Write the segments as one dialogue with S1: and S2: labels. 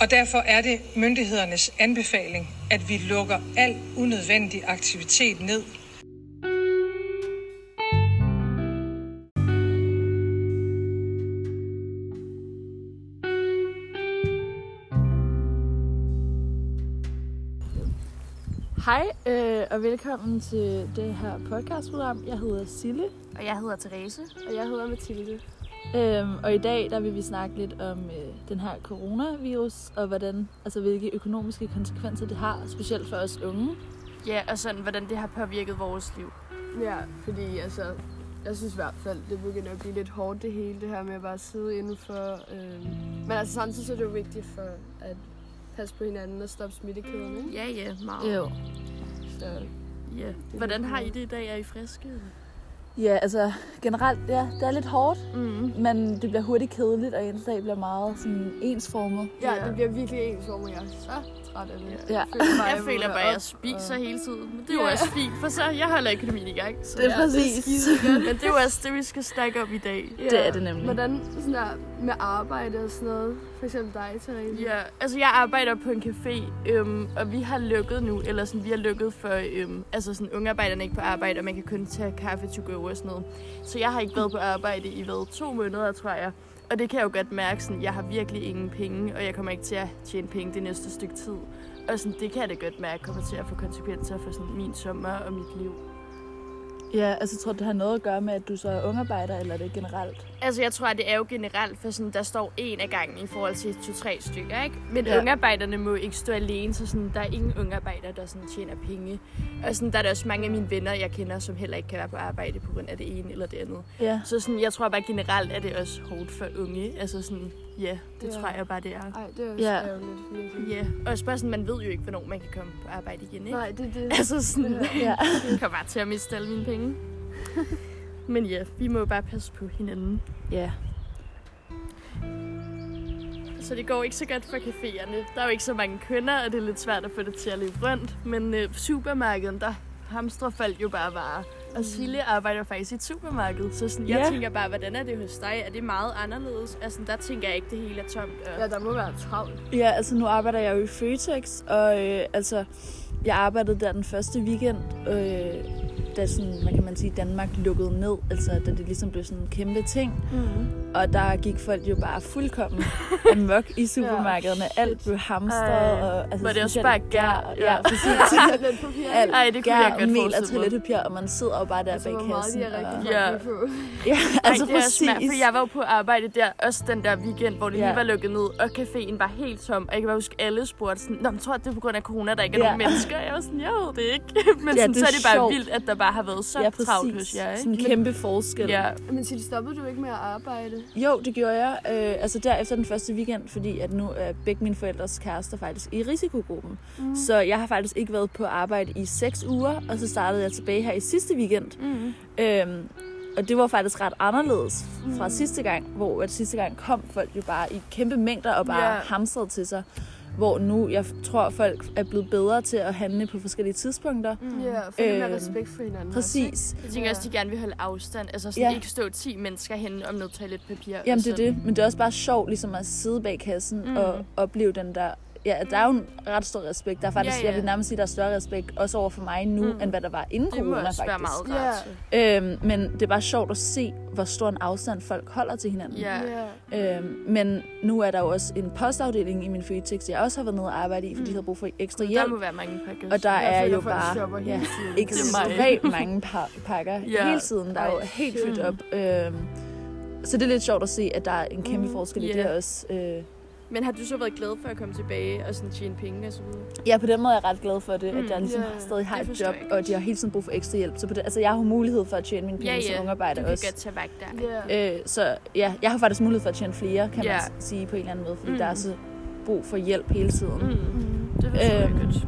S1: Og derfor er det myndighedernes anbefaling, at vi lukker al unødvendig aktivitet ned.
S2: Hej øh, og velkommen til det her podcastprogram. Jeg hedder Sille,
S3: Og jeg hedder Therese.
S4: Og jeg hedder Mathilde.
S2: øhm, og i dag der vil vi snakke lidt om øh, den her coronavirus og hvordan, altså, hvilke økonomiske konsekvenser det har, specielt for os unge.
S3: Ja, og sådan, hvordan det har påvirket vores liv.
S4: Ja, fordi altså, jeg synes i hvert fald, det begynder at blive lidt hårdt det hele, det her med at bare sidde indenfor. Øh... Men altså samtidig så er det jo vigtigt for at passe på hinanden og stoppe smittekæderne. Ikke?
S3: Ja, ja, meget.
S2: Jo.
S4: Så
S3: Ja. Hvordan har I det i dag? Er I friske?
S2: Ja, altså generelt, ja, det er lidt hårdt,
S3: Mm.
S2: men det bliver hurtigt kedeligt, og ens dag bliver meget sådan, ensformet.
S4: ja,
S3: Ja.
S4: det bliver virkelig ens over, jeg er så træt af det.
S3: Ja.
S2: Ja.
S3: Jeg føler bare, at jeg
S4: vågner
S3: spiser hele tiden. Men det er
S4: Ja.
S3: jo også fint, for så jeg holder økonomien i gang. Så.
S2: Det er
S3: Ja.
S2: præcis.
S3: Men det er jo også det, vi skal snakke om i dag.
S4: op, og-
S2: Det er det nemlig.
S4: Hvordan sådan der, med arbejde og sådan noget? For eksempel dig, Therese.
S3: Ja, altså jeg arbejder på en café, øhm, og vi har lukket nu, eller sådan, vi har lukket for, øhm, altså sådan, ungarbejderne er ikke på arbejde, og man kan kun tage kaffe to go og sådan noget. Så jeg har ikke været på arbejde i, hvad, to måneder, tror jeg. Og det kan jeg jo godt mærke, sådan, jeg har virkelig ingen penge, og jeg kommer ikke til at tjene penge det næste stykke tid. Og sådan, det kan jeg da godt mærke, kommer til at få konsekvenser for sådan, min sommer og mit liv.
S2: Ja, altså tror du, det har noget at gøre med, at du så er ungarbejder, eller er det generelt?
S3: Altså, jeg tror, at det er jo generelt, for sådan, der står en af gangen i forhold til to-tre stykker, ikke? Men
S2: Ja.
S3: ja. ungarbejderne må ikke stå alene, så sådan, der er ingen ungarbejdere, der sådan, tjener penge. Og sådan, der er der også mange af mine venner, jeg kender, som heller ikke kan være på arbejde på grund af det ene eller det andet.
S2: Ja.
S3: Så sådan, jeg tror bare generelt, at det er også hårdt for unge. Altså sådan, ja, det
S4: Ja.
S3: ja. tror jeg bare, det er.
S4: Ej, det er også
S2: Ja.
S4: ja. ærgerligt. virkelig.
S3: Ja, og også bare sådan, man ved jo ikke, hvornår man kan komme på arbejde igen, ikke?
S4: Nej, det er det.
S3: Altså sådan,
S4: Ja.
S2: Ja.
S3: jeg kommer bare til at miste alle mine penge. Men ja, vi må jo bare passe på hinanden.
S2: Ja.
S3: Så det går ikke så godt for caféerne. Der er jo ikke så mange kunder, og det er lidt svært at få det til at løbe rundt. Men øh, supermarkedet, der hamstrer folk jo bare varer. Og Sille arbejder faktisk i et supermarked, så sådan, jeg
S2: Ja.
S3: tænker bare, hvordan er det hos dig? Er det meget anderledes? Altså, der tænker jeg ikke, det hele er tomt. Og...
S4: Ja, der må være travlt.
S2: Ja, altså nu arbejder jeg jo i Føtex, og øh, altså, jeg arbejdede der den første weekend, øh, da sådan, hvad kan man sige, Danmark lukkede ned, altså da det ligesom blev sådan en kæmpe ting. Mm. Og der gik folk jo bare fuldkommen amok i supermarkederne.
S4: shit.
S2: Alt blev hamstret.
S3: Ej.
S2: Og, altså,
S3: Var det også
S2: specielt
S3: bare gær?
S2: Ja,
S3: Ja.
S2: præcis.
S4: Lidt papir.
S2: Alt
S3: Ej, det kunne jeg
S2: gær,
S3: godt
S2: mel og
S3: forestille mig.
S2: toiletpapir, og man sidder jo bare der
S4: Altså,
S2: bag
S4: hvor meget
S2: kassen.
S4: de er rigtig
S2: og...
S3: Ja.
S4: ja. på.
S2: Ja, altså
S3: Altså, Ej, det er også
S2: præcis.
S3: svært, for jeg var jo på arbejde der, også den der weekend, hvor det
S2: Ja.
S3: lige var lukket ned, og caféen var helt tom, og jeg kan bare huske, alle spurgte sådan, Nå, men tror jeg, det er på grund af corona, der ikke er
S2: Ja.
S3: nogen mennesker? Og Jeg var sådan, jeg ved det ikke. men
S2: Ja,
S3: sådan,
S2: det er
S3: så er det bare
S2: sjovt.
S3: vildt, at der bare har været så
S2: ja,
S3: travlt
S2: præcis.
S3: hos jer, ikke?
S2: Sådan en kæmpe forskel.
S3: Ja,
S4: Men Tilly, stoppede du ikke med at arbejde?
S2: Jo, det gjorde jeg. Øh, altså derefter den første weekend, fordi at nu er begge mine forældres kærester faktisk i risikogruppen. Mm. Så jeg har faktisk ikke været på arbejde i seks uger, og så startede jeg tilbage her i sidste weekend. Mm. Øhm, og det var faktisk ret anderledes fra mm. sidste gang, hvor at sidste gang kom folk jo bare i kæmpe mængder og bare
S3: Ja.
S2: yeah. hamstrede til sig. Hvor nu, jeg tror, folk er blevet bedre til at handle på forskellige tidspunkter. Mm.
S4: Ja, for det
S2: Øhm,
S4: med respekt for hinanden.
S2: Præcis.
S3: jeg tænker også, de gerne vil holde afstand. Altså sådan,
S2: Ja.
S3: ikke stå 10 mennesker henne om noget toiletpapir. og
S2: Jamen det er
S3: sådan.
S2: det, men det er også bare sjovt ligesom at sidde bag kassen mm. og opleve den der... Ja, der er jo en ret stor respekt. Der er faktisk, ja,
S3: Ja,
S2: ja.
S3: ja.
S2: jeg vil nærmest sige, der er større respekt også over for mig nu, mm. end hvad der var inden
S3: Det må
S2: corona
S3: også
S2: faktisk.
S3: være meget
S4: Ja.
S3: rart.
S2: Øhm, men det er bare sjovt at se, hvor stor en afstand folk holder til hinanden.
S3: Ja.
S4: Ikke? Ja.
S2: Øhm, men nu er der jo også en postafdeling i min Føtex, jeg også har været nede og arbejde i, fordi de havde brug for ekstra
S3: Mm. Der
S2: hjælp.
S3: må være mange pakker.
S2: Og der
S4: Jeg
S2: er
S4: føler,
S2: jo
S4: folk shopper
S2: bare
S4: hele
S2: ja,
S4: tiden.
S3: Det er
S2: ekstremt mange pa- pakker
S3: Ja.
S2: hele tiden. Der er jo
S4: Ej,
S2: helt
S4: shit.
S2: fyldt op. Øhm, så det er lidt sjovt at se, at der er en kæmpe forskel i
S3: Mm. ja.
S2: det også. Øh,
S3: Men har du så været glad for at komme tilbage og sådan tjene penge og så videre?
S2: ja, på den måde er jeg ret glad for det, at
S3: Mm,
S2: jeg ligesom
S4: ja, ja.
S2: stadig har
S3: Det
S2: et
S3: forstår
S2: job,
S3: jeg
S2: og de har hele tiden brug for ekstra hjælp. Så på det, altså, jeg har jo mulighed for at tjene mine penge
S3: Ja,
S2: som
S3: ja. Du
S2: ungarbejder
S3: kan
S2: også.
S3: godt tage vagt der.
S4: Ja.
S2: Øh, så ja, jeg har faktisk mulighed for at tjene flere, kan
S3: Ja.
S2: man s- sige på en eller anden måde, fordi
S3: Mm.
S2: der er så brug for hjælp hele tiden.
S3: Mm. Det forstår jeg
S2: Øhm.
S3: godt.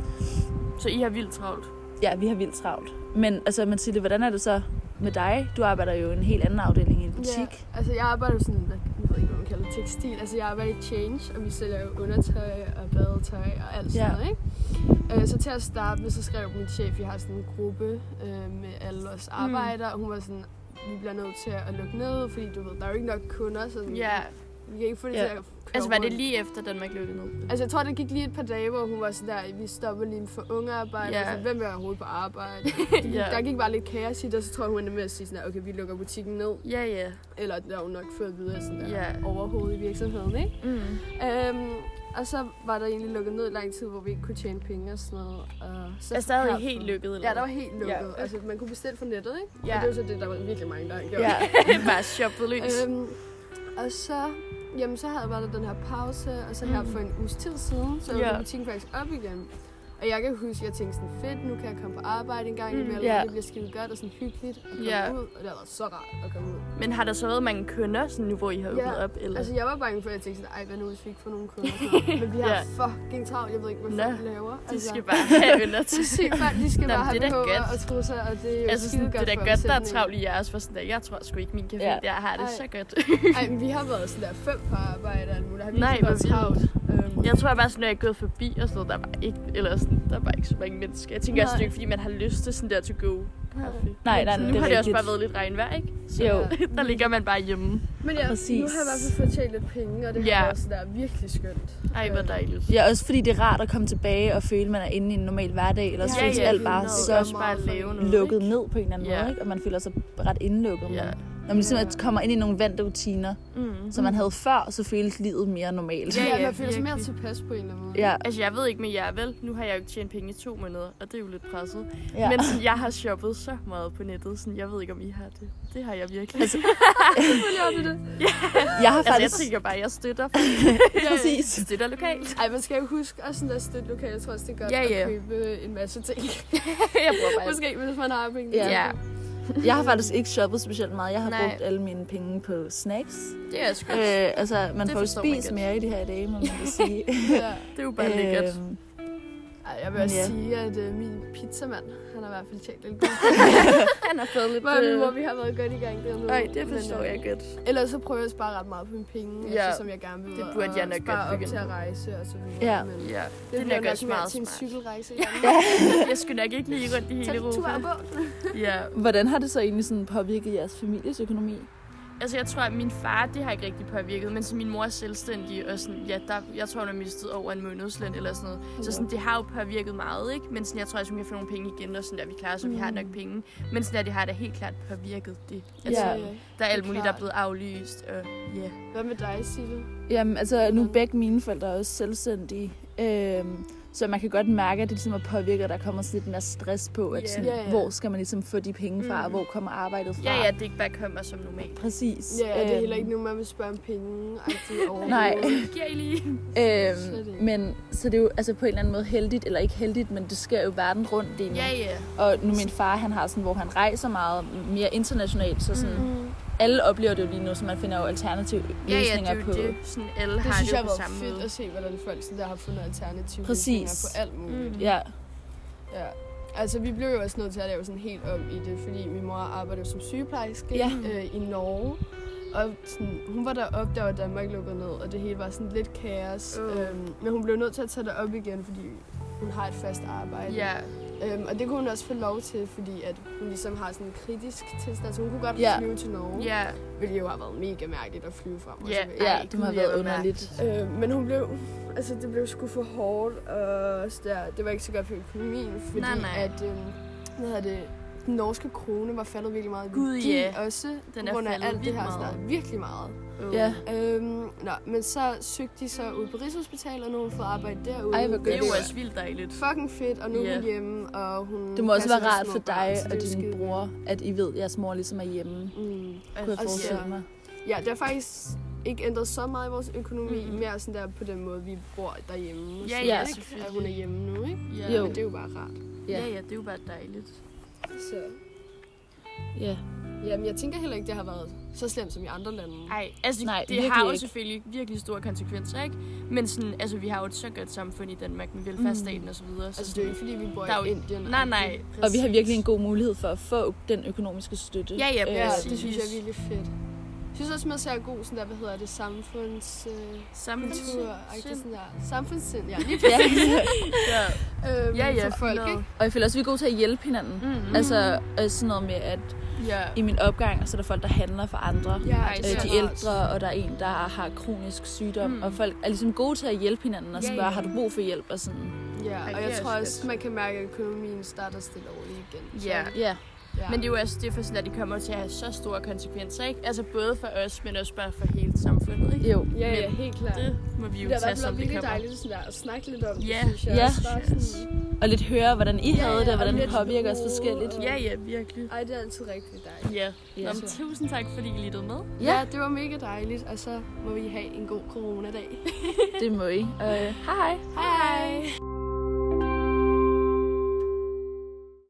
S3: Så I har vildt travlt?
S2: Ja, vi har vildt travlt. Men altså, Mathilde, hvordan er det så med dig? Du arbejder jo i en helt anden afdeling i en butik.
S4: Ja, altså jeg arbejder jo sådan, hvad, jeg ved ikke, hvad man kalder det, tekstil. Altså jeg arbejder i Change, og vi sælger jo undertøj og badetøj og alt sådan
S2: Ja.
S4: noget, ikke? Øh, så til at starte med, så skrev min chef, vi har sådan en gruppe øh, med alle os
S2: Mm.
S4: arbejdere, og hun var sådan, vi bliver nødt til at lukke ned, fordi du ved, der er jo ikke nok kunder, så vi kan ikke få det
S2: Ja.
S4: til at
S3: Altså, var det
S4: rundt.
S3: lige efter Danmark lukkede ned?
S4: Altså, jeg tror, der gik lige et par dage, hvor hun var sådan der, vi stopper lige for ungearbejde.
S3: Ja.
S4: Yeah. Altså, hvem vil overhovedet på arbejde?
S3: Ja.
S4: Der gik bare lidt kaos i det, og så tror jeg, hun endte med at sige sådan der, okay, vi lukker butikken ned.
S3: Ja, ja.
S4: Eller der var hun nok fået videre sådan der
S3: Ja.
S4: overhovedet i virksomheden, ikke?
S3: Mm.
S4: Øhm, og så var der egentlig lukket ned i lang tid, hvor vi ikke kunne tjene penge og sådan noget. Og så
S3: Er stadig
S4: herfra-
S3: helt lukket, eller
S4: Ja, der var
S3: hvad?
S4: helt lukket. Ja. Altså, man kunne bestille fra nettet, ikke?
S3: Ja.
S4: Og det var så det, der var virkelig mange, der gjorde.
S2: Ja.
S3: bare shoppet løs.
S4: Øhm, og så, jamen, så havde var der den her pause, og så her for en uges tid siden, så
S3: Mm. Ja.
S4: yeah. butikken faktisk op igen. Og jeg kan huske, jeg tænkte sådan, fedt, nu kan jeg komme på arbejde en gang imellem,
S2: ja.
S4: og det bliver skide godt og sådan hyggeligt at komme
S3: Mm, Ja.
S4: ud. Og det har været så rart at komme ud.
S3: Men har der så været mange kunder, sådan nu hvor I har åbnet op? Eller?
S4: Altså, jeg var bange for, at jeg tænkte sådan, ej, hvad nu hvis vi ikke får nogen kunder? snart?" Men vi har
S3: Ja.
S4: fucking travlt, jeg ved ikke, hvad
S3: Nå,
S4: folk laver. altså.
S3: de skal bare have øl og
S4: de skal bare, de skal
S3: Nå,
S4: bare
S3: men det er da
S4: have BH'er
S3: godt.
S4: og trusser, og det er jo
S3: Altså,
S4: skide
S3: sådan,
S4: godt
S3: det er da
S4: for
S3: godt, der er
S4: omsætningen.
S3: travlt i jeres, for sådan der, jeg tror sgu ikke, min café
S2: Ja.
S3: der har det
S4: Ej.
S3: så godt.
S4: Ej, men vi har været sådan der fem på arbejde, og alt muligt. Har vi
S3: Nej,
S4: ikke været
S3: hvor
S4: travlt? Øhm,
S3: Jeg tror bare, sådan, når jeg er gået forbi og sådan noget, der var ikke, eller sådan, der var ikke så mange mennesker. Jeg tænker også, det er jo ikke, fordi man har lyst til sådan der to go. Kaffe.
S2: Nej, nej,
S3: Så
S2: nej,
S3: nu
S2: det
S3: har
S2: er
S3: det også
S2: rigtigt.
S3: bare været lidt regnvejr, ikke? Så
S2: Jo.
S3: der ligger man bare hjemme.
S4: Men ja,
S2: Præcis.
S4: Præcis. nu har jeg i hvert fald fået tjent lidt penge, og det
S3: Ja.
S4: har været sådan der virkelig skønt.
S3: Ej, hvor
S4: Øhm,
S3: dejligt.
S2: Ja, også fordi det er rart at komme tilbage og føle, at man er inde i en normal hverdag, eller
S4: Ja,
S2: ja, føles
S4: ja,
S2: alt
S4: det
S2: bare
S4: er
S2: så
S4: noget.
S3: også bare at lave noget.
S2: lukket ned på en eller anden
S3: Ja.
S2: måde, ikke? og man føler sig ret indlukket.
S3: Ja.
S2: Yeah. Når man ligesom at kommer ind i nogle vante rutiner,
S3: Mm.
S2: som man havde før, så føles livet mere normalt.
S3: Ja,
S4: Ja,
S3: ja,
S4: ja, man føler sig mere
S3: virkelig.
S4: tilpas på en eller anden måde.
S2: Ja,
S3: Altså, jeg ved ikke med jer, vel? Nu har jeg jo ikke tjent penge i to måneder, og det er jo lidt presset.
S2: ja.
S3: Men sådan, jeg har shoppet så meget på nettet, sådan, jeg ved ikke, om I har det. Det har jeg virkelig. Altså,
S4: Selvfølgelig har vi det.
S2: jeg har
S3: altså jeg
S2: faktisk...
S3: tænker bare, jeg støtter faktisk.
S2: præcis.
S3: støtter lokalt.
S4: Ej, man skal jo huske også sådan der støtte lokalt. Jeg tror også, det er godt
S3: Ja, ja.
S4: at købe en masse ting.
S3: jeg bruger bare
S4: Måske, hvis man har penge.
S2: Ja.
S3: Ja,
S2: Jeg har faktisk ikke shoppet specielt meget. Jeg har
S3: Nej.
S2: Nej. brugt alle mine penge på snacks.
S3: det er også godt.
S2: Øh, altså, man
S3: Det
S2: får jo
S3: forstår man
S2: spist
S3: godt.
S2: mere i de her dage, må man da sige.
S4: ja.
S3: Det er jo bare lækkert.
S2: Øhm,
S4: Ej, jeg vil også
S2: Ja.
S4: ja. sige, at øh, min pizzamand, han har i hvert fald tjent lidt godt.
S3: Han har fået lidt...
S4: Hvor, hvor vi har været godt i gang dernede.
S3: Nej, det forstår
S4: Men, øh,
S3: jeg godt.
S4: Ellers så prøver jeg at spare ret meget på mine penge,
S3: Ja.
S4: ja. altså, som jeg gerne vil.
S3: Det burde
S4: og
S3: jeg nok godt
S4: spare op
S3: begynde
S4: til at
S3: med.
S4: rejse og så videre.
S2: Ja.
S4: Men
S3: Ja,
S4: det,
S3: er
S4: bliver
S3: nok
S4: nok
S3: også
S4: mere
S3: meget
S4: til en
S3: smart.
S4: cykelrejse.
S3: jeg skulle nok ikke lige rundt i hele
S4: Tag en tur
S3: Europa.
S4: og gå.
S3: Ja.
S2: Hvordan har det så egentlig sådan påvirket jeres families økonomi?
S3: Altså, jeg tror, at min far, det har ikke rigtig påvirket, men så min mor er selvstændig, og sådan, ja, der, jeg tror, hun har mistet over en månedsløn eller sådan noget. Så sådan, det har jo påvirket meget, ikke? Men sådan, jeg tror også, hun kan få nogle penge igen, og sådan der, vi klarer så vi
S4: Mm.
S3: har nok penge. Men sådan der, det har da helt klart påvirket det. Altså,
S2: Ja.
S3: der er
S4: er
S3: alt muligt, der er
S4: klart.
S3: blevet aflyst, og ja.
S4: Hvad med dig, Sille?
S2: Jamen, altså, nu er begge mine forældre er også selvstændige. Øhm, så man kan godt mærke, at det ligesom er påvirket, at der kommer sådan lidt mere stress på,
S3: Ja.
S2: at sådan,
S4: Ja, ja.
S2: hvor skal man ligesom få de penge fra,
S3: Mm.
S2: og hvor kommer arbejdet fra?
S3: Ja, ja, det ikke bare kommer som normalt.
S2: Præcis.
S4: Ja, det er
S2: Øhm,
S4: heller ikke nogen, man vil spørge om penge. agtigt overhovedet.
S2: Nej.
S3: Giver I lige?
S2: Øhm,
S4: Slet ikke.
S2: men så det er jo altså på en eller anden måde heldigt, eller ikke heldigt, men det sker jo verden rundt lige nu.
S3: Ja, ja.
S2: Og nu min far, han har sådan, hvor han rejser meget mere internationalt, så sådan, mm.
S4: Mm.
S2: alle oplever det jo lige nu, så man finder jo alternative
S3: Ja, ja,
S2: løsninger
S3: det er
S2: på.
S3: jo det. Sådan, alle
S4: Det
S3: har
S4: synes
S3: det jo
S4: jeg har
S3: på
S4: været
S3: samme
S4: fedt
S3: måde.
S4: at se, hvordan folk sådan der har fundet alternative
S2: Præcis.
S4: løsninger på alt muligt.
S3: Mm.
S2: Ja,
S4: Ja. Altså, vi blev jo også nødt til at lave sådan helt om i det, fordi min mor arbejder som sygeplejerske
S2: Ja.
S4: øh, i Norge. Og sådan, hun var deroppe, der var Danmark lukket ned, og det hele var sådan lidt kaos.
S3: Åh.
S4: Øhm, men hun blev nødt til at tage det op igen, fordi hun har et fast arbejde.
S3: Ja,
S4: Øhm, og det kunne hun også få lov til, fordi at hun ligesom har sådan en kritisk tilstand, så hun kunne godt
S2: Ja.
S4: flyve til Norge.
S3: ja, hvilket
S4: Hvilket jo har været mega mærkeligt at flyve frem og
S3: Ja.
S4: tilbage.
S2: ja
S3: Ej,
S2: det må have
S3: gud, ja,
S2: været
S3: hvor
S2: underligt.
S4: Øh, men hun blev, altså det blev sgu for hårdt, og så der, det var ikke så godt for økonomien, fordi
S3: Nej, nej.
S4: at, øh, hvad hedder det, den norske krone var faldet virkelig meget. i
S3: Gud,
S4: værdi
S3: ja.
S4: Også
S3: Den
S4: den på
S3: er
S4: grund af
S3: faldet
S4: alt det
S3: vildt
S4: her
S3: meget.
S4: snart. Virkelig meget.
S3: Åh.
S2: Ja.
S4: Øhm, nå, men så søgte de så ud på Rigshospitalet, og nu har hun fået arbejde derude.
S2: Ej, hvor godt.
S3: Det er jo
S2: Det er-
S3: også vildt dejligt.
S4: fucking fedt, og nu er
S3: Ja.
S4: hun hjemme, og hun
S2: Det må også
S4: passer
S2: være
S4: de
S2: rart
S4: små
S2: for
S4: børn,
S2: dig
S4: så det
S2: og
S4: er jo
S2: din
S4: skide-
S2: bror, at I ved, at jeres mor ligesom er hjemme.
S4: Mm.
S2: Kunne
S3: Altså,
S2: jeg
S4: Og-
S2: forestille mig.
S4: Ja, det har faktisk ikke ændret så meget i vores økonomi,
S3: Mhm.
S4: mm. mere sådan der på den måde, vi bor derhjemme.
S3: Ja,
S4: sådan,
S2: ja,
S4: ikke?
S3: selvfølgelig.
S4: At hun er hjemme nu, ikke?
S3: Ja.
S2: Jo.
S4: Men det er jo bare rart.
S2: Ja.
S3: Ja, ja, det er jo bare dejligt.
S4: Så.
S2: Ja.
S4: Jamen, jeg tænker heller ikke, det har været så slemt som i andre lande.
S3: Nej, altså
S2: Nej,
S3: Nej, det
S2: virkelig
S3: har jo
S2: ikke.
S3: selvfølgelig virkelig store konsekvenser, ikke? Men sådan, altså vi har jo et så godt samfund i Danmark med
S2: Mm.
S3: velfærdsstaten og så videre. Så
S4: Altså, det er jo ikke, fordi vi bor
S3: der er jo-
S4: i Indien.
S3: Nej, nej.
S2: Og vi har virkelig en god mulighed for at få den økonomiske støtte.
S3: Ja, ja,
S2: Øh,
S4: Ja,
S3: præcis.
S4: det synes jeg er virkelig fedt. Jeg synes også, man ser god sådan der, hvad hedder det, samfunds... Øh, kultur, ikke sådan der. Samfundssind, ja. Lige
S2: Ja.
S3: Ja.
S4: øhm,
S3: Ja, ja,
S4: for folk,
S3: hundrede.
S4: ikke?
S2: Og jeg føler også, at vi er gode til at hjælpe hinanden.
S3: Mm.
S2: Altså øh, sådan noget med, at
S3: ja.
S2: i min opgang, så er der folk, der handler for andre.
S4: Ja,
S3: Ej,
S4: det
S2: Øh,
S4: er
S2: de
S4: rart.
S2: ældre, og der er en, der har kronisk sygdom,
S3: Mm.
S2: mm. og folk er ligesom gode til at hjælpe hinanden og
S3: Ja,
S2: spørge,
S3: ja.
S2: har du brug for hjælp? Og sådan.
S4: Ja,
S3: Ej,
S4: og
S3: det
S4: jeg
S3: er
S4: tror
S3: også
S4: også,
S3: fedt.
S4: man kan mærke, at økonomien starter stille og roligt igen. Så,
S3: Ja.
S2: Ja,
S4: ja.
S3: Men det er jo også det, for sådan, at det kommer til at have så store konsekvenser, ikke? Altså både for os, men også bare for hele samfundet, ikke?
S2: jo.
S4: ja, ja,
S3: Men
S4: helt klart.
S3: Det må vi jo
S4: Det har
S3: tage,
S4: været
S3: som
S4: blevet
S3: det
S4: virkelig
S3: kommer.
S4: dejligt sådan der, at snakke lidt om
S3: Ja.
S4: det, synes jeg.
S2: Ja.
S4: Også bare sådan,
S2: Og lidt høre, hvordan I
S4: Ja,
S2: havde
S4: ja,
S2: det, og
S4: og
S2: hvordan det
S4: lidt
S2: påvirker os
S4: gode,
S2: forskelligt.
S4: og-
S3: Ja, ja, virkelig.
S4: ej, det er altid rigtig dejligt.
S3: Ja.
S2: Ja.
S3: Nå, men tusind tak, fordi I lyttede med.
S2: Ja.
S4: ja, det var mega dejligt, og så må vi have en god coronadag.
S2: Det må I. Øh, hej hej.
S4: Hej!